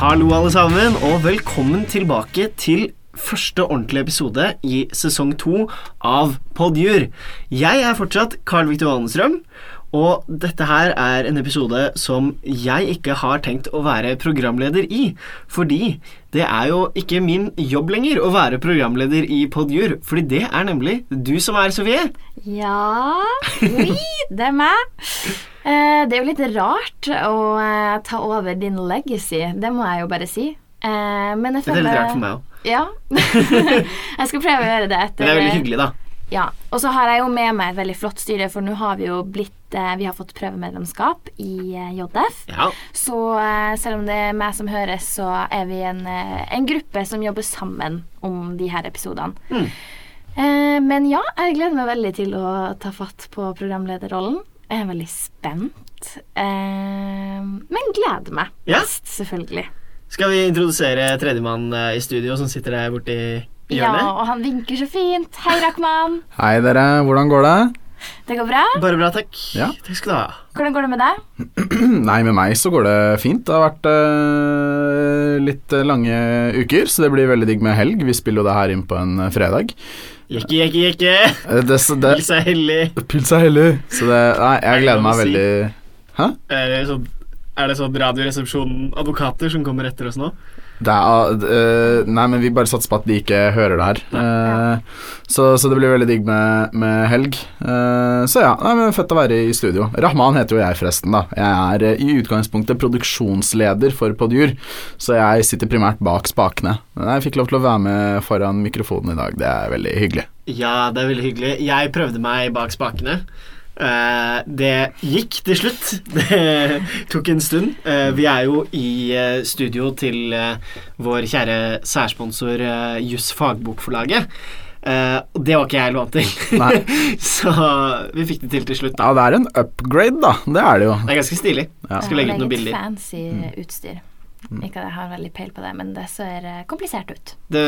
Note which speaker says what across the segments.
Speaker 1: Hallo, alle sammen, og velkommen tilbake til første ordentlige episode i sesong to av Podjur. Jeg er fortsatt Carl Victor Wallenstrøm, og dette her er en episode som jeg ikke har tenkt å være programleder i. Fordi det er jo ikke min jobb lenger å være programleder i Podjur, fordi det er nemlig du som er Sofie.
Speaker 2: Ja Oui, det er meg. Eh, Det er jo litt rart å eh, ta over din legacy, det må jeg jo bare si. Eh, Men jeg
Speaker 1: Det er
Speaker 2: føler
Speaker 1: litt rart for meg òg.
Speaker 2: Ja. jeg skal prøve å gjøre det etter
Speaker 1: Men det er veldig hyggelig, da.
Speaker 2: Ja. Og så har jeg jo med meg et veldig flott styre, for nå har vi jo blitt eh, Vi har fått prøvemedlemskap i eh, JF.
Speaker 1: Ja.
Speaker 2: Så eh, selv om det er meg som høres, så er vi en, eh, en gruppe som jobber sammen om de her episodene.
Speaker 1: Mm.
Speaker 2: Eh, Men ja, jeg gleder meg veldig til å ta fatt på programlederrollen. Jeg er veldig spent. eh, Men gleder meg
Speaker 1: Ja.
Speaker 2: mest, selvfølgelig.
Speaker 1: Skal vi introdusere tredjemann eh, i studio, som sitter der borte i
Speaker 2: Ja,
Speaker 1: hjørnet?
Speaker 2: og han vinker så fint. Hei, Rachman.
Speaker 3: Hei dere, hvordan går det?
Speaker 2: Det går bra?
Speaker 1: Bare bra, takk.
Speaker 3: Ja.
Speaker 1: Takk skal du ha.
Speaker 2: Hvordan går det med deg?
Speaker 3: Nei, med meg så går det fint. Det har vært eh, litt lange uker, så det blir veldig digg med helg. Vi spiller jo det her inn på en eh, fredag.
Speaker 1: Jekke, jekke, jekke.
Speaker 3: Eh, Det, så det,
Speaker 1: Pils er hellig.
Speaker 3: Pils er hellig. Så det Nei, jeg gleder meg veldig
Speaker 1: Er det sånn, er det sånn Radioresepsjonen-advokater som kommer etter oss nå?
Speaker 3: det er, eh, Nei, men vi bare satser på at de ikke hører det her. Eh, så, så det blir veldig digg med, med helg. Eh, så ja, nei, men fett å være i studio. Rahman heter jo jeg, forresten. da Jeg er eh, i utgangspunktet produksjonsleder for Podjur, så jeg sitter primært bak spakene. Men jeg fikk lov til å være med foran mikrofonen i dag, det er veldig hyggelig.
Speaker 1: Ja, det er veldig hyggelig. Jeg prøvde meg bak spakene. Eh, det gikk til slutt. Det tok en stund. Eh, vi er jo i eh, studio til eh, vår kjære særsponsor uh, Juss Fagbokforlaget. Eh, og det var ikke jeg lov til,
Speaker 3: Nei.
Speaker 1: så vi fikk det til til slutt, da.
Speaker 3: Ja, det er en upgrade, da. Det er det jo.
Speaker 1: Det er ganske stilig.
Speaker 3: Ja.
Speaker 1: Skal legge ut noen
Speaker 2: Meget
Speaker 1: bilder. Mm.
Speaker 2: Fancy utstyr. Ikke at jeg har veldig peil på det, men det ser eh, komplisert ut.
Speaker 1: Det,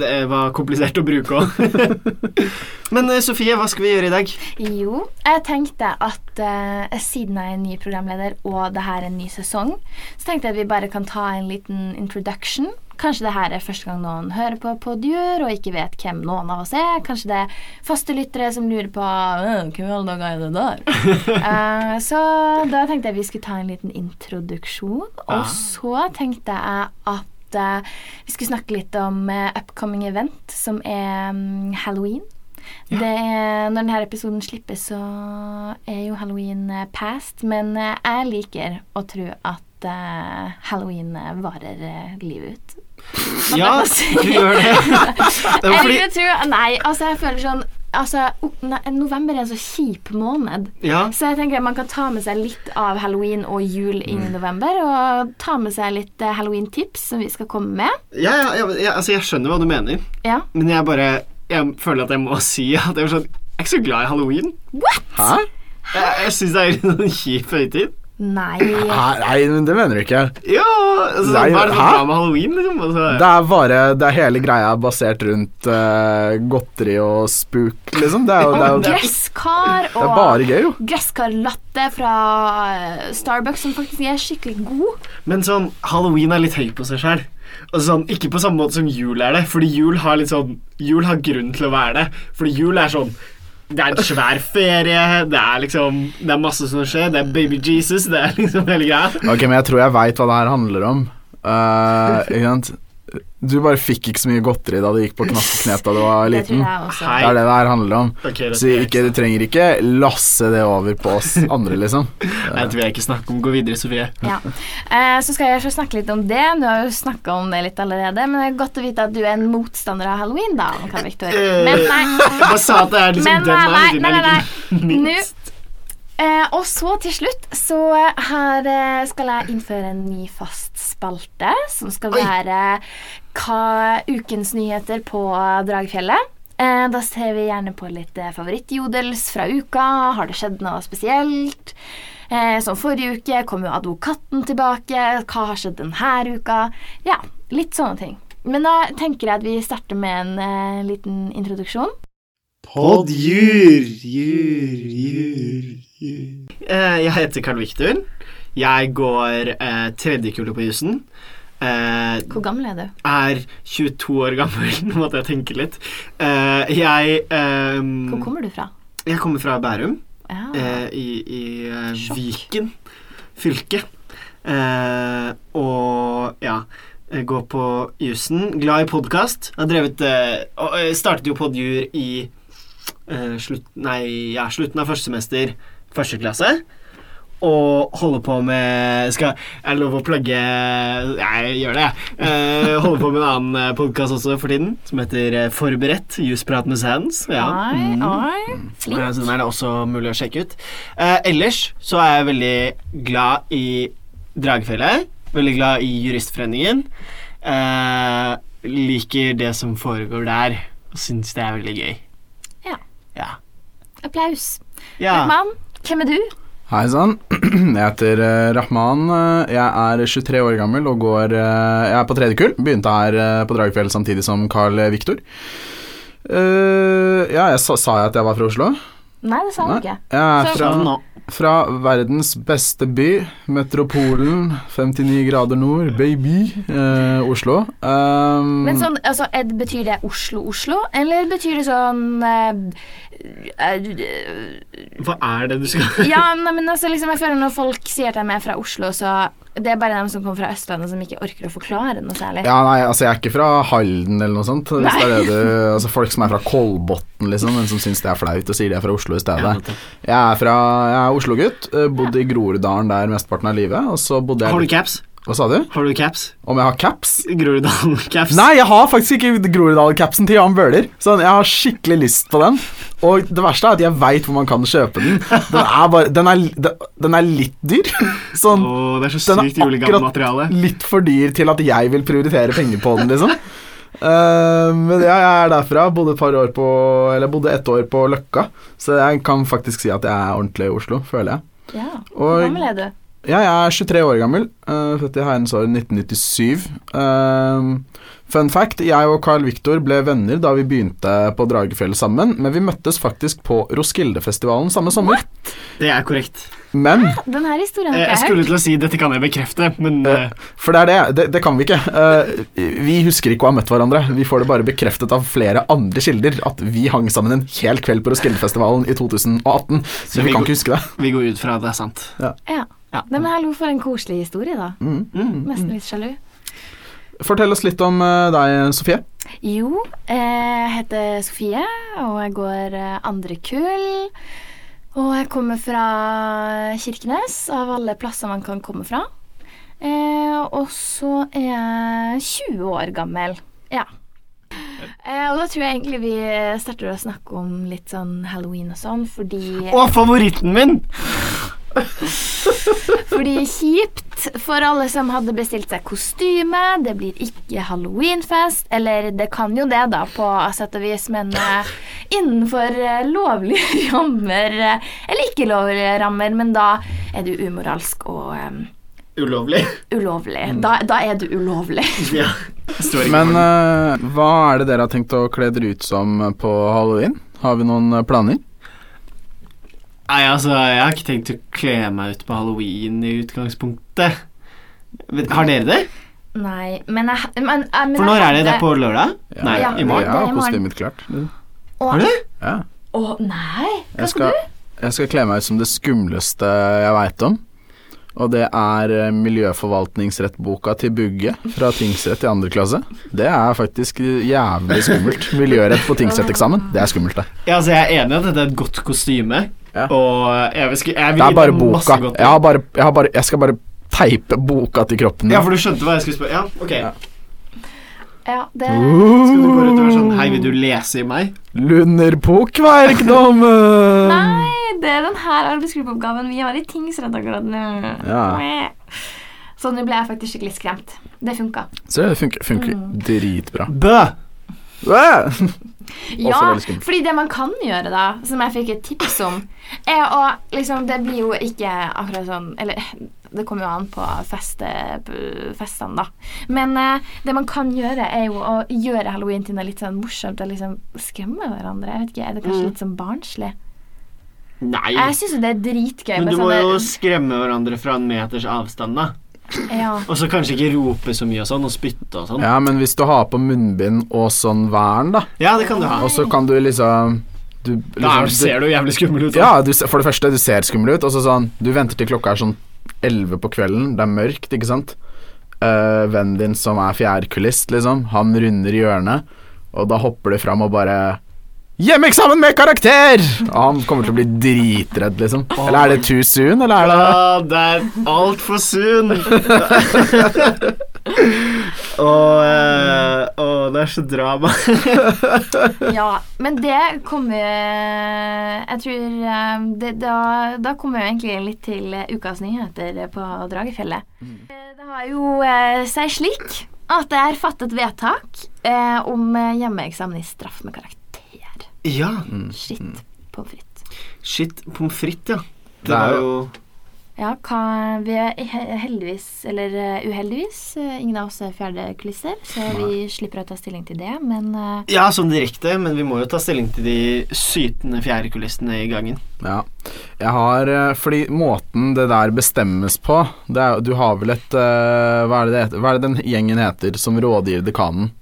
Speaker 1: det var komplisert å bruke òg. Men eh, Sofie, hva skal vi gjøre i dag?
Speaker 2: Jo, jeg tenkte at eh, siden jeg er ny programleder, og det her er en ny sesong, så tenkte jeg at vi bare kan ta en liten introduction. Kanskje det her er første gang noen hører på Podjur og ikke vet hvem noen av oss er. Kanskje det er faste lyttere som lurer på «Øh, Hvem i alle dager er det der? Eh, så da tenkte jeg vi skulle ta en liten introduksjon.
Speaker 1: Ja.
Speaker 2: Og så tenkte jeg at eh, vi skulle snakke litt om eh, upcoming event, som er mm, halloween. Det er, når denne episoden slippes, så er jo halloween eh, past. Men eh, jeg liker å tro at eh, halloween eh, varer eh, livet ut.
Speaker 1: Ja, du gjør det. Det var
Speaker 2: Jeg
Speaker 1: fordi
Speaker 2: liker å tro Nei, altså, jeg føler sånn Altså, ok- nei, November er en så kjip måned.
Speaker 1: Ja,
Speaker 2: Så jeg tenker at man kan ta med seg litt av halloween og jul inn i
Speaker 3: Mm.
Speaker 2: november. Og ta med seg litt eh, halloween-tips som vi skal komme med.
Speaker 1: ja, ja, ja, ja altså, jeg skjønner hva du mener,
Speaker 2: Ja.
Speaker 1: men jeg bare Jeg føler at jeg må si at jeg er, sånn, jeg er ikke så glad i halloween.
Speaker 3: Hæ?
Speaker 1: Jeg, jeg syns det er en sånn kjip høytid.
Speaker 2: Nei.
Speaker 3: Hæ? Nei, men det mener du ikke.
Speaker 1: Ja, altså,
Speaker 3: Nei,
Speaker 1: hva er det som
Speaker 3: hæ?
Speaker 1: er bra med halloween, liksom?
Speaker 3: Det
Speaker 1: Altså,
Speaker 3: er bare Det er hele greia basert rundt eh, godteri og spook, liksom. Det er jo, det er jo det
Speaker 2: Gresskar
Speaker 3: er
Speaker 2: og
Speaker 3: bare gøy, jo.
Speaker 2: gresskarlatte fra eh, Starbucks, som faktisk er skikkelig god.
Speaker 1: men sånn, halloween er litt høy på seg sjøl. Og sånn, ikke på samme måte som jul er det, fordi jul har litt sånn Jul har grunn til å være det. Fordi jul er sånn Det er en svær ferie, det er liksom Det er masse som skjer, det er baby Jesus, det er liksom hele greia.
Speaker 3: Ok, men jeg tror jeg veit hva det her handler om. Eh, ikke sant? Du bare fikk ikke så mye godteri da du gikk på knasseknep da du var
Speaker 2: Det
Speaker 3: liten.
Speaker 2: tror jeg også.
Speaker 3: Det er det det her handler om.
Speaker 1: Ok, det
Speaker 3: Så
Speaker 1: skal jeg
Speaker 3: ikke, du trenger ikke lasse det over på oss andre, liksom.
Speaker 1: Nei, det vil jeg ikke snakke om. Gå videre, Sofie.
Speaker 2: Ja. Eh, så skal jeg så snakke litt om det. Du har jo snakka om det litt allerede. Men det er godt å vite at du er en motstander av halloween, da, Karl Victor.
Speaker 1: Eh,
Speaker 2: Men nei.
Speaker 1: Jeg bare sa at det er liksom
Speaker 2: Men
Speaker 1: den
Speaker 2: nei, nei,
Speaker 1: er
Speaker 2: nei, nei,
Speaker 1: like
Speaker 2: Nå
Speaker 1: minst.
Speaker 2: eh, Og så til slutt så her eh, skal jeg innføre en ny fast spalte, som skal
Speaker 1: Oi.
Speaker 2: være hva ukens nyheter på Dragfjellet. Eh, da ser vi gjerne på litt eh, favorittjodels fra uka. Har det skjedd noe spesielt? Eh, som forrige uke kom jo advokaten tilbake. Hva har skjedd denne uka? Ja, litt sånne ting. Men da tenker jeg at vi starter med en eh, liten introduksjon.
Speaker 1: Poddjur, jur, jur, jur. Jeg heter Carl Victor. Jeg går eh, tredje kullet eh, på jussen. eh,
Speaker 2: Hvor gammel er du?
Speaker 1: er 22 år gammel. Nå måtte jeg tenke litt. Eh, jeg eh,
Speaker 2: Hvor kommer du fra?
Speaker 1: Jeg kommer fra Bærum,
Speaker 2: Ja.
Speaker 1: eh, i, i eh,
Speaker 2: Sjokk.
Speaker 1: Viken fylke. Eh, og ja jeg Går på jussen. Glad i podkast. Har drevet eh, og, eh, Startet jo Podjur i eh, slutt, nei, ja, slutten av første semester, første klasse. Og holder på med Skal er det lov å plugge Jeg gjør det, jeg. Eh, holder på med en annen podkast også for tiden, som heter eh, Forberedt. Jusprat med Sands. Ja.
Speaker 2: Oi,
Speaker 1: Mm.
Speaker 2: oi. Flink.
Speaker 1: Eh, Så den er det også mulig å sjekke ut. Eh, ellers så er jeg veldig glad i Dragfjellet. Veldig glad i Juristforeningen. Eh, liker det som foregår der, og syns det er veldig gøy.
Speaker 2: Ja.
Speaker 1: Ja.
Speaker 2: Applaus.
Speaker 1: ja.
Speaker 2: Rahman, hvem er du?
Speaker 3: Hei sann, jeg heter eh, Rahman. Eh, Jeg er 23 år gammel og går eh, Jeg er på tredje kull. Begynte her eh, på Dragefjell samtidig som Carl Victor. Eh, ja, jeg sa, sa jeg at jeg var fra Oslo?
Speaker 2: Nei, det sa han
Speaker 3: Nei.
Speaker 2: ikke.
Speaker 3: Jeg er
Speaker 2: Så-
Speaker 3: fra,
Speaker 1: Sånn nå.
Speaker 3: fra verdens beste by, metropolen, 59 grader nord, baby, eh, Oslo.
Speaker 1: Mm.
Speaker 3: Um,
Speaker 2: Men sånn, altså, Ed, betyr det Oslo-Oslo, eller betyr det sånn eh, eh,
Speaker 1: Hva er det du skal
Speaker 2: Ja, nei, men altså, liksom, jeg føler når folk sier at de er fra Oslo, så det er bare dem som kommer fra Østlandet som ikke orker å forklare noe særlig.
Speaker 3: Ja, nei, altså jeg er ikke fra Halden eller noe sånt. Hvis det er det du, altså Folk som er fra Kolbotn, liksom, men som syns det er flaut og sier de er fra Oslo i stedet. Jeg er, fra, jeg er Oslo-gutt. eh, Bodde i Groruddalen der mesteparten av livet. Og så bodde
Speaker 1: Har du
Speaker 3: jeg
Speaker 1: caps?
Speaker 3: Hva sa du?
Speaker 1: Har du caps?
Speaker 3: Om jeg har caps?
Speaker 1: Groruddalen-caps?
Speaker 3: Nei, jeg har faktisk ikke Groruddalen-capsen til Jan Bøhler. Sånn, jeg har skikkelig lyst på den. Og det verste er at jeg veit hvor man kan kjøpe den. Den er, bare, den er, den- den er litt dyr. Sånn
Speaker 1: Åh, det er så
Speaker 3: Den er
Speaker 1: sykt julegammelt
Speaker 3: akkurat-
Speaker 1: materiale.
Speaker 3: litt for dyr til at jeg vil prioritere penger på den, liksom. Eh, men ja, jeg er derfra. Bodde et par år på Eller bodde ett år på Løkka. Så jeg kan faktisk si at jeg er ordentlig i Oslo, føler jeg.
Speaker 2: Ja. Hvor
Speaker 3: Og-
Speaker 2: gammel er du?
Speaker 3: Ja, jeg er 23 år gammel. eh, født i herrens år 1997. Eh, fun fact, jeg og Carl Victor ble venner da vi begynte på Dragefjell sammen, men vi møttes faktisk på Roskildefestivalen samme sommer.
Speaker 1: Det er korrekt.
Speaker 3: Men
Speaker 2: Den her
Speaker 1: Eh,
Speaker 2: historien har
Speaker 1: Jeg
Speaker 2: ikke jeg
Speaker 1: skulle til å si 'dette kan jeg bekrefte', men
Speaker 3: Eh,
Speaker 1: eh,
Speaker 3: For det er det, det, det kan vi ikke. Eh, vi husker ikke å ha møtt hverandre. Vi får det bare bekreftet av flere andre kilder at vi hang sammen en hel kveld på Roskildefestivalen i 2018. Så vi
Speaker 1: vi
Speaker 3: kan
Speaker 1: går-
Speaker 3: ikke huske det.
Speaker 1: vi går ut fra at det er sant.
Speaker 2: hørt. Ja.
Speaker 1: Ja.
Speaker 2: Nei, men hallo, for en koselig historie, da.
Speaker 3: Mm.
Speaker 2: Nesten litt sjalu.
Speaker 3: Fortell oss litt om eh, deg, Sofie.
Speaker 2: Jo, eh, jeg heter Sofie, og jeg går eh, andre kull. Og jeg kommer fra Kirkenes, av alle plasser man kan komme fra. Eh, og så er jeg 20 år gammel. Ja. Eh, og da tror jeg egentlig vi starter å snakke om litt sånn halloween og sånn, fordi
Speaker 1: Og favoritten min!
Speaker 2: Fordi kjipt for alle som hadde bestilt seg kostyme. Det blir ikke halloweenfest. Eller det kan jo det, da, på sett og vis, men eh, innenfor eh, lovlige rammer. eh, eller ikke lovlige rammer, men da er du umoralsk og eh,
Speaker 1: Ulovlig.
Speaker 2: ulovlig.
Speaker 1: Mm.
Speaker 2: Da, da er du ulovlig.
Speaker 1: Ja. Står ikke
Speaker 3: Men
Speaker 1: for den.
Speaker 3: eh, hva er det dere har tenkt å kle dere ut som på halloween? Har vi noen eh, planer?
Speaker 1: Nei, altså, jeg har ikke tenkt å kle meg ut på halloween i utgangspunktet. Men Har dere det?
Speaker 2: Nei, men jeg men, eh, men
Speaker 1: For
Speaker 2: jeg
Speaker 1: når er det? Det
Speaker 2: hadde-
Speaker 1: er på lørdag? Nei,
Speaker 2: Ja.
Speaker 1: i morgen?
Speaker 2: Det
Speaker 3: Jeg
Speaker 2: er i
Speaker 3: har
Speaker 2: morgen.
Speaker 3: kostymet klart.
Speaker 2: Å,
Speaker 1: Har du?
Speaker 3: Ja.
Speaker 2: Å, nei! Hva skal
Speaker 3: Jeg skal,
Speaker 2: du?
Speaker 3: jeg skal kle meg ut som det skumleste jeg veit om. Og det er eh, miljøforvaltningsrettboka til Bugge fra tingsrett i andre klasse. Det er faktisk jævlig skummelt. Miljørett på tingsretteksamen, det er skummelt, det.
Speaker 1: Ja, altså, jeg er enig i at dette er et godt kostyme,
Speaker 3: Ja.
Speaker 1: og jeg vil, sk- jeg vil gi
Speaker 3: Det er bare
Speaker 1: deg masse
Speaker 3: boka.
Speaker 1: godt-
Speaker 3: Jeg, har bare, jeg, har bare, jeg skal bare teipe boka til kroppen.
Speaker 1: Ja, for du skjønte hva jeg skulle spørre? Ja, ok.
Speaker 3: Ja.
Speaker 2: Ja, det
Speaker 1: Skal du gå rundt og være sånn Hei, vil du lese i meg?
Speaker 3: Lunder på kverkdommen!
Speaker 2: Nei, det er den her arbeidsgruppeoppgaven vi har i tingsrett akkurat nå.
Speaker 3: Ja.
Speaker 2: Så nå ble jeg faktisk skikkelig skremt. Det funka.
Speaker 3: Så det funker, funker dritbra.
Speaker 1: Bø!
Speaker 3: Øh!
Speaker 2: Ja,
Speaker 3: veldig skummelt.
Speaker 2: fordi det man kan gjøre, da, som jeg fikk et tips om, er å liksom Det blir jo ikke akkurat sånn Eller det kommer jo an på feste, p- festene, da. Men eh, det man kan gjøre, er jo å gjøre halloween til noe litt sånn morsomt og liksom skremme hverandre. Jeg vet ikke, Er det kanskje
Speaker 1: Mm.
Speaker 2: litt sånn barnslig?
Speaker 1: Nei.
Speaker 2: Jeg syns jo det er dritgøy.
Speaker 1: Men
Speaker 2: med sånn
Speaker 1: du må
Speaker 2: sånne-
Speaker 1: jo skremme hverandre fra en meters avstand, da.
Speaker 2: Ja.
Speaker 1: Og så kanskje ikke rope så mye og sånn, og spytte og sånn.
Speaker 3: Ja, men hvis du har på munnbind og sånn vern, da,
Speaker 1: Ja, det kan du ha.
Speaker 3: og så kan du liksom du,
Speaker 1: Da
Speaker 3: liksom-
Speaker 1: er- ser du sånn? jævlig skummel ut. da.
Speaker 3: Ja, du, se- for det første, du ser skummel ut, og så sånn Du venter til klokka er sånn 11 på kvelden, det er mørkt, ikke sant? Eh, vennen din som er fjærkulist, liksom, han runder hjørnet, og da hopper du fram og bare Hjemmeeksamen med karakter! Og han kommer til å bli dritredd, liksom. Eller er det too soon, eller er det
Speaker 1: Ja, det er altfor soon. og, eh, og det er så drama.
Speaker 2: Ja, men det kommer Jeg tror eh, det, da, da kommer vi egentlig litt til eh, ukas nyheter på Dragefjellet.
Speaker 1: Mm.
Speaker 2: Eh, Det har jo eh, seg slik at det er fattet vedtak eh, om eh, hjemmeeksamen i straff med karakter.
Speaker 1: ja, Mm.
Speaker 2: Shit pommes frites.
Speaker 1: shit pommes frites, ja. Det
Speaker 3: Det er
Speaker 1: var
Speaker 3: jo-
Speaker 1: jo
Speaker 2: Ja, hva, vi er he- heldigvis, eller eh, uheldigvis, eh, ingen av oss er fjerdekulisse, så vi slipper å ta stilling til det, men eh,
Speaker 1: Ja, sånn direkte, men vi må jo ta stilling til de sytende fjerdekulissene i gangen.
Speaker 3: Ja. Jeg har eh, Fordi måten det der bestemmes på det er, Du har vel et eh, hva, er det det heter, hva er det den gjengen heter som rådgir dekanen?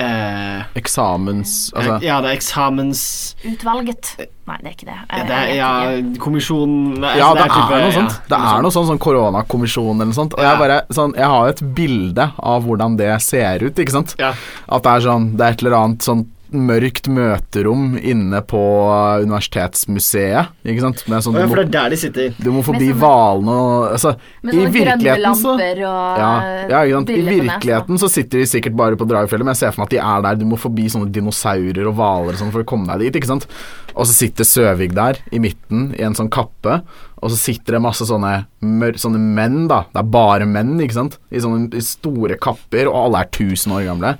Speaker 1: Eh,
Speaker 3: Eksamens Altså
Speaker 1: ja, det er eksamens...
Speaker 2: utvalget Nei, det er ikke det.
Speaker 1: Eh, Ja,
Speaker 2: Jeg-
Speaker 1: det er,
Speaker 2: jeg
Speaker 1: ja,
Speaker 2: vet ikke.
Speaker 1: kommisjonen nei,
Speaker 3: Ja,
Speaker 1: altså,
Speaker 3: det er
Speaker 1: type-
Speaker 3: noe sånt.
Speaker 1: ja,
Speaker 3: Det er noe sånn, sånn koronakommisjon eller noe sånt. Og
Speaker 1: Ja.
Speaker 3: jeg, bare, sånn, jeg har et bilde av hvordan det ser ut, ikke sant.
Speaker 1: Ja.
Speaker 3: At det er sånn Det er et eller annet sånn mørkt møterom inne på eh, universitetsmuseet, ikke sant. Med sånn,
Speaker 1: Å, ja,
Speaker 3: du,
Speaker 1: for det
Speaker 3: må,
Speaker 1: er der de sitter.
Speaker 3: du må forbi
Speaker 2: Med sånne-
Speaker 3: hvalene og altså,
Speaker 2: Med
Speaker 3: I
Speaker 2: sånne grønne
Speaker 3: virkeligheten så
Speaker 2: lamper og
Speaker 3: ja, ja, ikke sant?
Speaker 2: briller
Speaker 3: I
Speaker 2: på nesa.
Speaker 3: virkeligheten så sitter de sikkert bare på Dragfjellet, men jeg ser for meg at de er der. Du må forbi sånne dinosaurer og hvaler og sånn for å komme deg dit, ikke sant. Og så sitter Søvig der, i midten, i en sånn kappe, og så sitter det masse sånne, mør sånne menn, da. Det er bare menn, ikke sant. I sånne i store kapper, og alle er 1000 år gamle.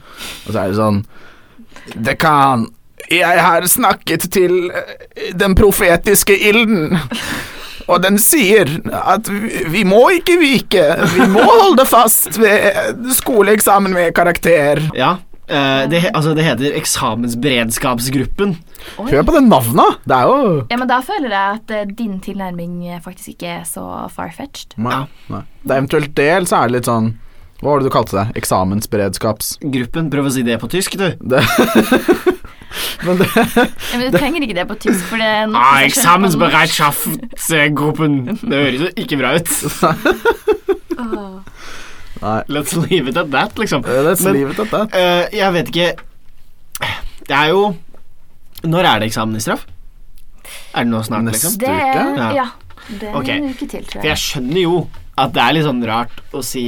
Speaker 3: Og så er det sånn Dekan, jeg har snakket til eh, den profetiske ilden. Og den sier at vi vi må ikke vike, vi må holde fast ved skoleeksamen med karakter.
Speaker 1: Ja, eh, det, he- altså, det heter eksamensberedskapsgruppen.
Speaker 2: Oi.
Speaker 3: Hør på det navnet, det er jo
Speaker 2: Ja, men da føler jeg at eh, din tilnærming eh, faktisk ikke er så far-fetched.
Speaker 3: Nei. nei. Det er eventuelt det, eller så er det litt sånn Hva var det du kalte det? Eksamensberedskaps...
Speaker 1: Gruppen, prøv å si det på tysk, du.
Speaker 3: Det. Men det,
Speaker 2: Ja, men du trenger ikke det på tysk, for det er noe
Speaker 1: Ah,
Speaker 2: som skjer på norsk.
Speaker 1: eksamensberedskapsgruppen. Det høres jo ikke bra ut.
Speaker 2: Åh.
Speaker 3: nei,
Speaker 1: Let's leave it at that, liksom.
Speaker 3: that's
Speaker 1: Men-
Speaker 3: livet, dette.
Speaker 1: Eh, jeg vet ikke Det er jo Når er det eksamen i straff? Er det nå snart,
Speaker 3: Neste-
Speaker 1: liksom?
Speaker 2: Det er
Speaker 1: Ja.
Speaker 2: Ja. Det er
Speaker 1: Ok.
Speaker 2: en uke til, tror
Speaker 1: For
Speaker 2: jeg.
Speaker 1: jeg skjønner jo at det er litt sånn rart å si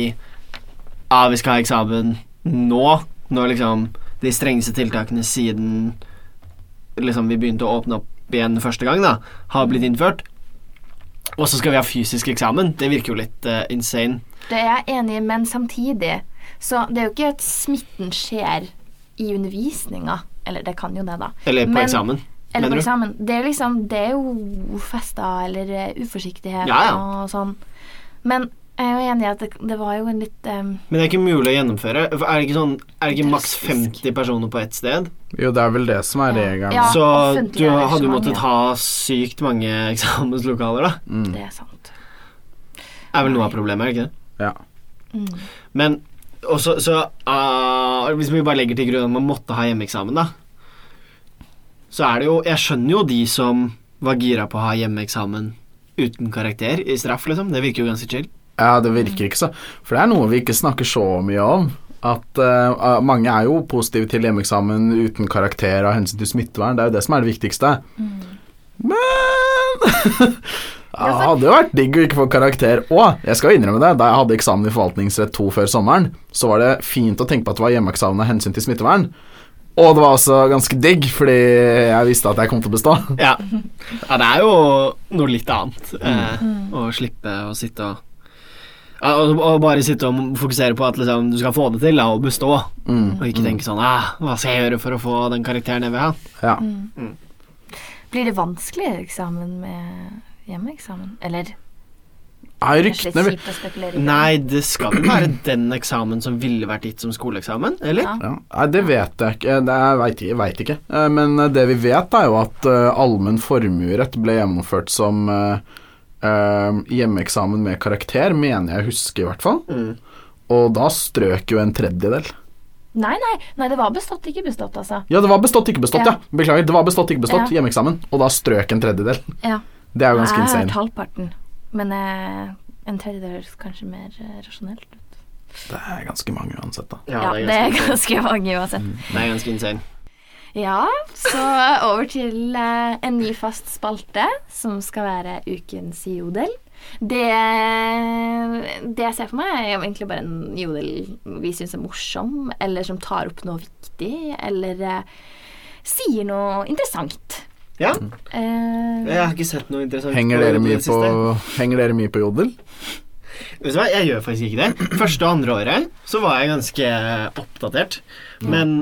Speaker 1: Ja, vi skal ha eksamen nå, når liksom de strengeste tiltakene siden liksom vi begynte å åpne opp igjen første gang, da, har blitt innført. Og så skal vi ha fysisk eksamen. Det virker jo litt eh, insane.
Speaker 2: Det er jeg enig i, men samtidig Så det er jo ikke at smitten skjer i undervisninga. Eller det kan jo det, da.
Speaker 1: Eller på
Speaker 2: Men-
Speaker 1: eksamen.
Speaker 2: Eller
Speaker 1: Mener
Speaker 2: på
Speaker 1: du?
Speaker 2: eksamen. Det er, liksom, det er jo fester eller eh, uforsiktighet
Speaker 1: Ja, ja.
Speaker 2: og sånn. Men jeg er jo enig i at det, det var jo en litt eh, em,
Speaker 1: Men det er ikke mulig å gjennomføre. For Er det ikke, sånn, er det ikke maks
Speaker 2: Drastisk.
Speaker 1: 50 personer på ett sted?
Speaker 3: Jo, det er vel det som er regelen.
Speaker 2: Ja,
Speaker 1: så
Speaker 2: offentlig
Speaker 1: du hadde jo
Speaker 2: arrangement,
Speaker 1: måttet
Speaker 2: ja.
Speaker 1: ha sykt mange eksamenslokaler, da.
Speaker 2: Det er sant.
Speaker 1: Er vel noe av problemet, er det ikke det?
Speaker 3: Ja.
Speaker 2: Mm.
Speaker 1: Men også, så ah, Hvis vi bare legger til grunn at man måtte ha hjemmeeksamen, da, så er det jo Jeg skjønner jo de som var gira på å ha hjemmeeksamen uten karakter i straff, liksom. Det virker jo ganske chill.
Speaker 3: Ja, det virker ikke så. For det er noe vi ikke snakker så mye om. At eh, mange er jo positive til hjemmeeksamen uten karakter av hensyn til smittevern. Det er jo det som er det viktigste.
Speaker 2: mm,
Speaker 3: Men Ja, Det hadde jo vært digg å ikke få karakter òg. Jeg skal jo innrømme det. Da jeg hadde eksamen i forvaltningsrett 2 før sommeren, så var det fint å tenke på at det var hjemmeeksamen av hensyn til smittevern. Og det var også ganske digg, fordi jeg visste at jeg kom til å bestå.
Speaker 1: Ja. ja, det er jo noe litt annet eh, å slippe å sitte og ja, og, og bare sitte og fokusere på at liksom, du skal få det til da, og bestå,
Speaker 3: Mm,
Speaker 1: og ikke tenke sånn ah, 'Hva skal jeg gjøre for å få den karakteren jeg vil ha?'
Speaker 3: Ja.
Speaker 2: mm. Blir det vanskeligere eksamen med hjemmeeksamen? Eller
Speaker 3: Nei,
Speaker 2: det er
Speaker 3: ryktene
Speaker 2: litt
Speaker 3: vil-
Speaker 2: kjipt å spekulere i.
Speaker 1: Nei, det skal vel være den eksamen som ville vært gitt som skoleeksamen, eller?
Speaker 2: Ja.
Speaker 3: Ja. Nei, det vet jeg ikke. Det, jeg veit ikke, vet ikke. Eh, Men eh, det vi vet, er jo at eh, allmenn formuerett ble gjennomført som eh, eh, hjemmeeksamen med karakter, mener jeg å huske, i hvert fall.
Speaker 1: Mm.
Speaker 3: Og da strøk jo en tredjedel.
Speaker 2: Nei, nei, nei, det var bestått, ikke bestått, altså.
Speaker 3: Ja, det var bestått, ikke bestått, ja.
Speaker 2: Ja.
Speaker 3: Beklager. Det var bestått, ikke bestått,
Speaker 2: Ja. Ah,
Speaker 3: hjemmeeksamen. Og da strøk en tredjedel.
Speaker 2: Ja.
Speaker 3: Det er jo
Speaker 2: jeg
Speaker 3: ganske
Speaker 2: har hørt
Speaker 3: insane.
Speaker 2: halvparten, men eh, en tredjedel høres kanskje mer eh, rasjonelt ut.
Speaker 3: Det er ganske mange uansett, da.
Speaker 1: Ja,
Speaker 2: Ja, det er ganske mange uansett.
Speaker 1: Det er ganske insane.
Speaker 2: Ja, så over til eh, en ny fast spalte, som skal være ukens jodel. Det, det jeg ser for meg, er jo egentlig bare en jodel vi syns er morsom, eller som tar opp noe viktig, eller eh, sier noe interessant.
Speaker 1: Ja,
Speaker 2: Eh,
Speaker 1: jeg har ikke sett noe interessant.
Speaker 3: Henger
Speaker 1: på
Speaker 3: dere
Speaker 1: det
Speaker 3: mye på,
Speaker 1: siste.
Speaker 3: henger dere mye på jodel?
Speaker 1: Vet du hva, jeg gjør faktisk ikke det. Første og andre året så var jeg ganske oppdatert.
Speaker 3: Mm.
Speaker 1: Men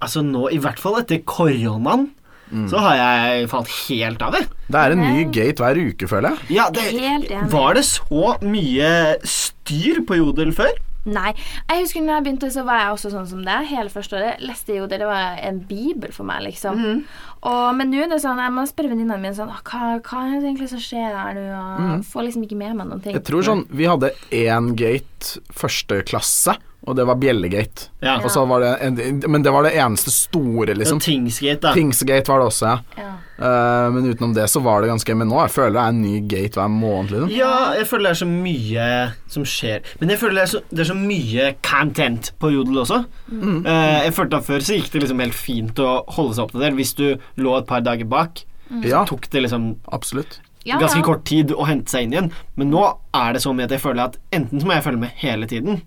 Speaker 1: altså nå, i hvert fall etter koronaen,
Speaker 3: Mm.
Speaker 1: så har jeg falt helt av det.
Speaker 3: Det er en ny gate hver uke, føler jeg.
Speaker 1: Ja, det
Speaker 2: Helt enig.
Speaker 1: Var det så mye styr på Jodel før?
Speaker 2: Nei. Jeg husker når jeg begynte, så var jeg også sånn som deg. Hele første året leste jeg jo det. Det var en bibel for meg, liksom.
Speaker 1: Mhm.
Speaker 2: Og, men nå er det sånn, jeg må spørre venninnene mine sånn «Åh, hva, hva er det egentlig som skjer her nå? Og
Speaker 1: Mhm.
Speaker 2: Får liksom ikke med meg noen ting.
Speaker 3: Jeg tror sånn, Vi hadde én gate første klasse, og det var bjellegate.
Speaker 1: Ja.
Speaker 3: Og så var det en, men det var det eneste store, liksom.
Speaker 1: Og Tingsgate, da.
Speaker 3: Pingsegate var det også, ja.
Speaker 2: Ja.
Speaker 3: Eh, men utenom det så var det ganske Men nå jeg føler det er en ny gate hver måned, liksom.
Speaker 1: Ja, jeg føler det er så mye som skjer. Men jeg føler det er så, det er så mye content på Jodel også. Eh, jeg følte at Før så gikk det liksom helt fint å holde seg oppdatert. Hvis du lå et par dager bak,
Speaker 2: Mm.
Speaker 3: Ja,
Speaker 1: tok det liksom
Speaker 3: absolutt.
Speaker 2: Ja,
Speaker 1: ganske
Speaker 2: ja.
Speaker 1: kort tid å hente seg inn igjen. Men nå er det så mye at jeg føler at enten så må jeg følge med hele tiden,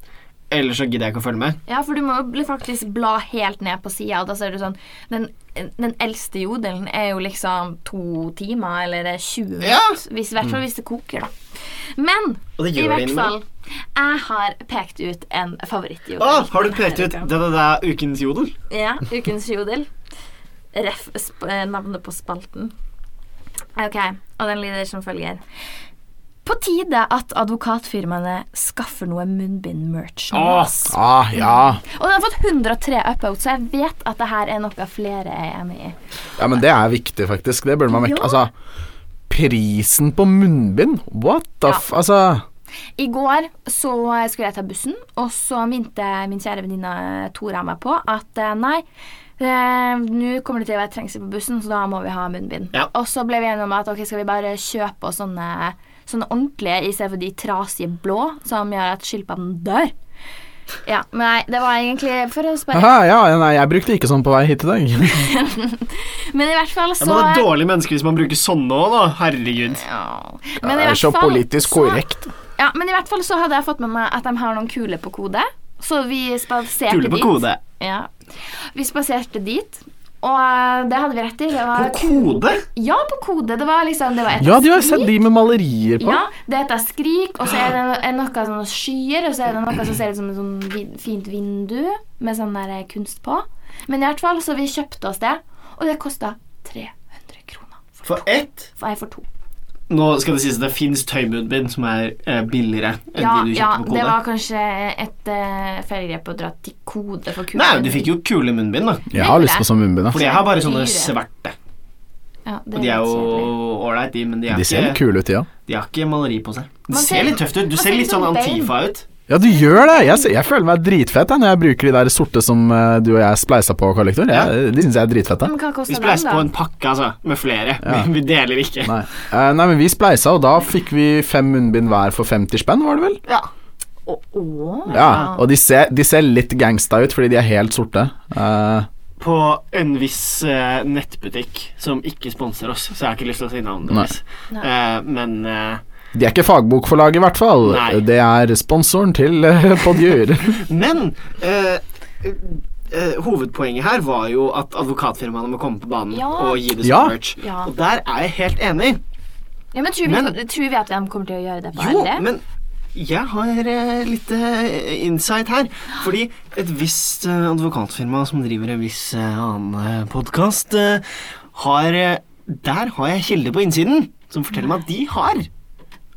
Speaker 1: eller så gidder jeg ikke å følge med.
Speaker 2: Ja, for du må jo bli- faktisk bla helt ned på sida, og da ser du sånn den, den eldste jodelen er jo liksom to timer, eller det er 20 minutter.
Speaker 1: Ja.
Speaker 2: Hvis, I hvert fall hvis det koker, da. Men
Speaker 1: Og det
Speaker 2: i
Speaker 1: gjør det
Speaker 2: hvert fall,
Speaker 1: innimellom.
Speaker 2: jeg har pekt ut en favorittjodel.
Speaker 1: Ah, har du pekt ut
Speaker 2: Herregud.
Speaker 1: det, det, det er ukens jodel?
Speaker 2: Ja, ukens jodel. Ref sp eh, navnet på spalten. Ok, og den lyder som følger. På tide at advokatfirmaene skaffer noe munnbind-merch. nå,
Speaker 1: Åh.
Speaker 2: ass.
Speaker 3: Ah, ja.
Speaker 2: Og den har fått 103 upvotes, så jeg vet at det her er noe flere er enig i.
Speaker 3: ja, men det er viktig, faktisk. Det burde man vekke.
Speaker 2: Ja.
Speaker 3: Altså, prisen på munnbind? What the
Speaker 2: Ja.
Speaker 3: f... Altså
Speaker 2: I går så skulle jeg ta bussen, og så minte min kjære venninne Tora meg på at eh, nei, eh, nå kommer det til å være trengsel på bussen, så da må vi ha munnbind.
Speaker 1: Ja.
Speaker 2: Og så ble vi enige om at ok, skal vi bare kjøpe oss sånne, sånne ordentlige i stedet for de trasige blå som gjør at skilpadden dør. Ja, men nei, det var egentlig for å spørre.
Speaker 3: Haha, ja, ja, nei, jeg brukte ikke sånn på vei hit i dag.
Speaker 2: Men i hvert fall
Speaker 1: Ja,
Speaker 2: så
Speaker 1: men det er dårlig menneske hvis man bruker sånne òg, da. Herregud.
Speaker 2: Ja.
Speaker 3: Det
Speaker 2: Men i
Speaker 3: er
Speaker 2: hvert
Speaker 3: så
Speaker 2: fall
Speaker 3: politisk
Speaker 2: så-
Speaker 3: korrekt.
Speaker 2: Ja, men i hvert fall så hadde jeg fått med meg at de har noen kuler på kode. Så vi spaserte
Speaker 1: Kule på
Speaker 2: dit.
Speaker 1: kode.
Speaker 2: Ja. Vi spaserte dit, og eh, det hadde vi rett i. Det var
Speaker 1: På kode?
Speaker 2: Ja, på kode. Det var liksom det var et
Speaker 3: Ja, de har jo sett de med malerier på.
Speaker 2: Ja, det heter skrik, og så er det no- er noe sånn skyer, og så er det noe som ser ut som et sånn vi- fint vindu med sånn der eh, kunst på. Men i hvert fall, så vi kjøpte oss det, og det kosta 300 kroner. For,
Speaker 1: For ett
Speaker 2: nei, for to.
Speaker 1: Nå skal det sies at det fins tøymunnbind som er eh, billigere enn
Speaker 2: Ja,
Speaker 1: de du kjøpte
Speaker 2: ja,
Speaker 1: på
Speaker 2: det
Speaker 1: kode.
Speaker 2: var kanskje et uh, feilgrep å dra til kode for kule.
Speaker 1: Nei, du fikk jo kule munnbind, da.
Speaker 3: Jeg har lyst på sånn munnbind. ass.
Speaker 1: For jeg har bare sånne
Speaker 2: Dyre.
Speaker 1: svarte.
Speaker 2: Ja, det
Speaker 1: Og de er
Speaker 2: litt kjedelig.
Speaker 1: jo ålreit, de, men de, er
Speaker 3: De ser litt
Speaker 1: ikke,
Speaker 3: kule ut, de ja.
Speaker 1: de har ikke maleri på seg. Det
Speaker 2: Man
Speaker 1: ser
Speaker 2: ser-
Speaker 1: litt tøft ut. Du
Speaker 2: man
Speaker 1: ser
Speaker 2: ser
Speaker 1: litt sånn
Speaker 2: sånn bein.
Speaker 1: Antifa ut.
Speaker 3: Ja, du gjør det! Jeg, ser- jeg føler meg dritfett jeg, når jeg bruker de der sorte som eh, du og jeg spleisa på, Karl Lektor. Jeg, de syns jeg er dritfette.
Speaker 2: Men hva
Speaker 1: Vi
Speaker 2: kosta den,
Speaker 1: spleiser
Speaker 2: sånn da?
Speaker 1: på en pakke, altså, med flere. Vi, vi deler ikke.
Speaker 3: Nei. Eh, nei, men vi spleisa, og da fikk vi fem munnbind hver for 50 spenn, var det vel?
Speaker 1: Ja.
Speaker 2: Å, å.
Speaker 3: Ja, og de ser, de ser litt gangsta ut fordi de er helt sorte. Eh,
Speaker 1: På en viss eh, nettbutikk som ikke sponser oss, så jeg har ikke lyst til å si navnet
Speaker 3: Nei.
Speaker 1: deres. Eh, men eh,
Speaker 3: de er ikke fagbokforlag, i hvert fall.
Speaker 1: Nei.
Speaker 3: Det er sponsoren til uh, Podjur.
Speaker 1: Men eh, eh, hovedpoenget her var jo at advokatfirmaene må komme på banen
Speaker 2: Ja.
Speaker 1: og gi det som
Speaker 3: Ja.
Speaker 1: merch.
Speaker 2: Ja.
Speaker 1: Og der er jeg helt enig.
Speaker 2: Ja, men tror vi,
Speaker 1: Men-
Speaker 2: tror vi at de kommer til å gjøre det på
Speaker 1: Jo,
Speaker 2: alle?
Speaker 1: men jeg har eh, litt eh, insight her. Fordi et visst eh, advokatfirma som driver en viss eh, annen eh, podkast, eh, har eh, Der har jeg kilder på innsiden som forteller meg at de har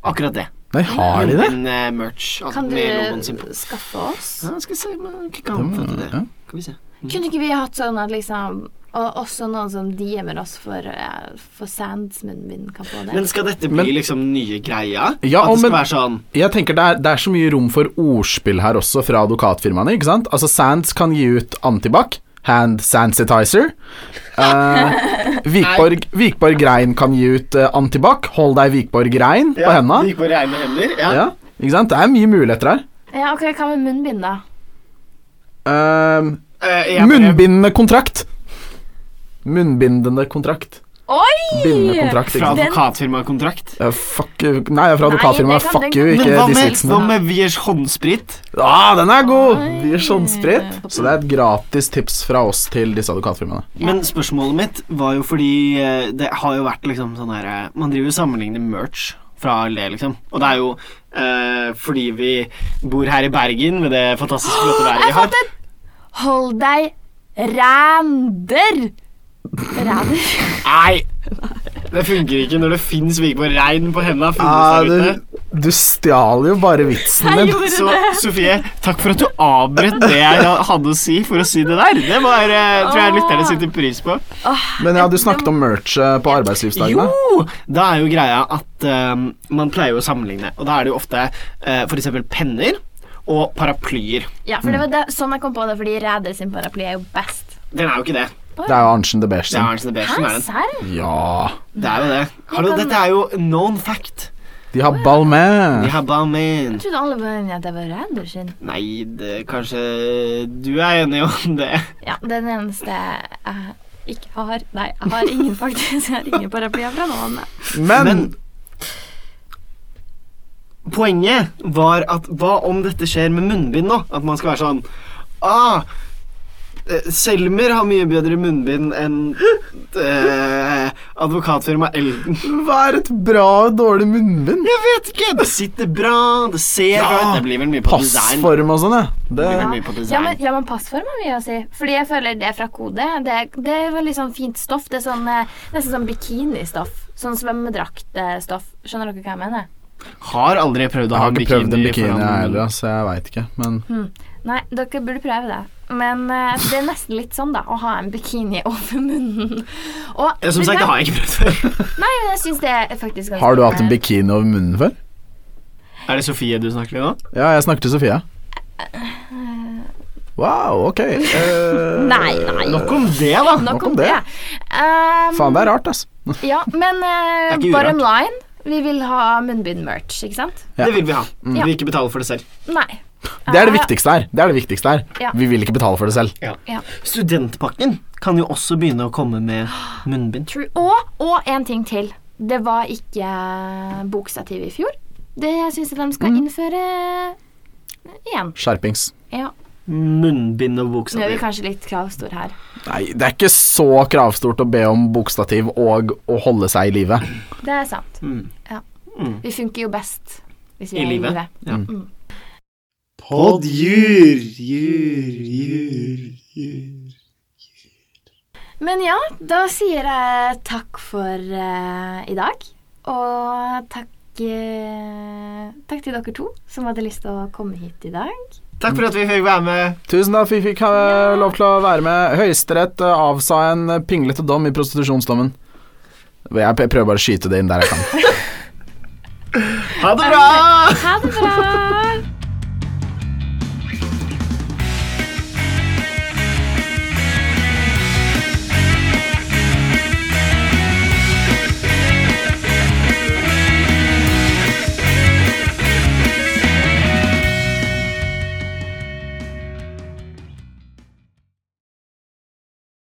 Speaker 1: akkurat det.
Speaker 3: Nei, har de det?
Speaker 1: En eh, merch altså,
Speaker 2: Kan
Speaker 1: med logoen sin på.
Speaker 2: du skaffe oss?
Speaker 1: Ja, skal vi se om jeg kan få til det. Skal vi se.
Speaker 2: Kunne ikke vi hatt sånn at liksom Og også noen som DM'er oss for, eh, for sandsmunnbind kan få det.
Speaker 1: Men skal dette bli
Speaker 3: Men-
Speaker 1: liksom nye greia?
Speaker 3: Ja,
Speaker 1: At det
Speaker 3: og
Speaker 1: skal
Speaker 3: men-
Speaker 1: være sånn
Speaker 3: Jeg tenker det er, det er så mye rom for ordspill her også fra advokatfirmaene, ikke sant? Altså Sands kan gi ut antibac, hand sanitizer. Eh, Vikborg, Vikborg Rein kan gi ut eh, antibac, hold deg Vikborg Rein på henda.
Speaker 1: Gikk på reine hender. Ja.
Speaker 3: Ja, ikke sant? Det er mye muligheter her.
Speaker 2: Ja, ok, Hva med munnbind, da?
Speaker 3: Ehm,
Speaker 1: Eh, jeg bare-
Speaker 3: munnbindende kontrakt. Munnbindende kontrakt.
Speaker 2: Oi!
Speaker 3: Bindende kontrakt, ikke
Speaker 1: Fra
Speaker 3: sant?
Speaker 2: Den-
Speaker 1: advokatfirmakontrakt.
Speaker 3: Eh, fuck you. Nei, jeg er fra
Speaker 2: Nei,
Speaker 3: advokatfirmaet.
Speaker 2: det kan-
Speaker 3: Fuck
Speaker 2: den-
Speaker 3: you,
Speaker 1: Men
Speaker 3: ikke
Speaker 1: hva
Speaker 3: de
Speaker 1: med,
Speaker 3: sexene.
Speaker 1: hva med Viers håndsprit?
Speaker 3: Ah, den er god!
Speaker 2: Oi.
Speaker 3: Vi er sånn spredt. Så det er et gratis tips fra oss til disse advokatfirmaene.
Speaker 1: Men spørsmålet mitt var jo fordi eh, det har jo vært liksom sånn her eh, Man driver jo og sammenligner merch fra det, liksom. Og det er jo eh, fordi vi bor her i Bergen med det fantastisk flotte været vi
Speaker 2: Jeg
Speaker 1: har.
Speaker 2: fant en! Hold deg rænder! Rænder?
Speaker 1: Nei! Det funker ikke når det fins Vigborg Rein på henda.
Speaker 3: Ah,
Speaker 1: funnes der ute.
Speaker 3: du, du stjal jo bare vitsen
Speaker 2: Jeg
Speaker 3: din.
Speaker 2: gjorde
Speaker 1: Så
Speaker 2: det!
Speaker 1: Sofie, takk for at du avbrøt det jeg hadde å si for å si det der. Det var, eh, tror jeg lytterne setter pris på.
Speaker 3: Men ja, du snakket om merchet på arbeidslivsdagene.
Speaker 1: Jo! Da er jo greia at ehm, man pleier jo å sammenligne, og da er det jo ofte eh, for f.eks. penner og paraplyer.
Speaker 2: Ja, for det var det, sånn jeg kom på det, fordi ræder sin paraply er jo best.
Speaker 1: Den er jo ikke det.
Speaker 3: Det er jo Arntzen de Beige
Speaker 1: Det er
Speaker 3: sin.
Speaker 1: Ernst
Speaker 2: Hæ,
Speaker 1: Beersen, Sånn er den.
Speaker 2: serr?
Speaker 3: Ja
Speaker 1: Det er jo det. Hallo,
Speaker 2: kan-
Speaker 1: dette er jo known fact.
Speaker 3: De har
Speaker 1: Vi
Speaker 3: ball med.
Speaker 1: har bare men
Speaker 2: Jeg trodde alle var enige at det var ræder sin.
Speaker 1: Nei, det, kanskje du er enig om det.
Speaker 2: Ja, det er den eneste jeg ikke har Nei, jeg har ingen, faktisk. Jeg har ingen paraplyer fra noen.
Speaker 3: Men
Speaker 1: Men poenget var at hva om dette skjer med munnbind nå? At man skal være sånn ah, eh, Selmer har mye bedre munnbind enn eh, advokatfirmaet Elden.
Speaker 3: hva er et bra og dårlig munnbind?
Speaker 1: Jeg vet ikke! Det sitter bra, det ser
Speaker 3: Ja,
Speaker 1: bra ut. Det blir vel mye på design.
Speaker 3: Passform og sånn, ja. Det,
Speaker 1: Det blir
Speaker 2: Ja.
Speaker 1: mye på design.
Speaker 2: Ja, men, ja, men passform er mye å si. Fordi jeg føler det er fra kode. Det, det er veldig sånn fint stoff. Det er sånn, eh, nesten sånn bikinistoff. Sånn svømmedraktstoff. Skjønner dere hva jeg mener?
Speaker 1: Har aldri prøvd å
Speaker 3: jeg
Speaker 1: ha
Speaker 3: har ikke prøvd en bikini
Speaker 1: foran
Speaker 3: jeg
Speaker 1: munnen.
Speaker 3: heller, altså. så jeg veit ikke. Men
Speaker 2: Nei, dere burde prøve det. Men eh, det er nesten litt sånn, da, å ha en bikini over munnen. Og,
Speaker 1: Ja, Som sagt, det har jeg ikke prøvd før.
Speaker 2: Nei, men jeg syns det er faktisk ganske
Speaker 3: har du hatt en
Speaker 2: imponerende.
Speaker 3: bikini over munnen før?
Speaker 1: Er det Sofie du snakker til nå?
Speaker 3: Ja, jeg snakket til Sofie. Wow, ok. Eh,
Speaker 2: Nei, nei.
Speaker 1: Nok om det, da.
Speaker 2: Nok om det. Um,
Speaker 3: Faen, det er rart, ass.
Speaker 2: Ja, men eh,
Speaker 1: Det er ikke
Speaker 2: bottom line Vi vil ha munnbind-merch, ikke sant?
Speaker 3: Ja. Mm.
Speaker 1: Det vil vi ha. Vi
Speaker 2: Ja.
Speaker 1: vil ikke betale for det selv.
Speaker 2: Nei.
Speaker 3: Det er det
Speaker 2: Eh,
Speaker 3: viktigste her. Det er det viktigste her.
Speaker 2: Ja.
Speaker 3: Vi vil ikke betale for det selv.
Speaker 1: Studentpakken kan jo også begynne å komme med munnbind.
Speaker 2: True. Og, og en ting til. Det var ikke eh, bokstativ i fjor. Det syns jeg de skal
Speaker 1: Mm.
Speaker 2: innføre igjen.
Speaker 3: Skjerpings.
Speaker 2: Ja.
Speaker 1: Munnbind og
Speaker 2: Nå er vi
Speaker 1: bokstaver.
Speaker 2: kanskje litt kravstor her.
Speaker 3: Nei, det er ikke så kravstort å be om bokstativ og å holde seg i live.
Speaker 2: Det er sant.
Speaker 1: Mm.
Speaker 2: Ja.
Speaker 1: Mm.
Speaker 2: Vi funker jo best hvis vi
Speaker 1: I
Speaker 2: er i
Speaker 1: livet.
Speaker 2: live.
Speaker 1: Podjur, jur, jur, jur.
Speaker 2: Men ja, da sier jeg takk for eh, i dag. Og takk, eh, takk til dere to som hadde lyst til å komme hit i dag.
Speaker 1: Takk for at vi fikk være med.
Speaker 3: Tusen takk for at vi fikk eh, lov til å være med. Høyesterett eh, avsa en eh, pinglete dom i prostitusjonsdommen. Jeg p- prøver bare å skyte det inn der jeg kan.
Speaker 1: Ha det bra!
Speaker 2: Ha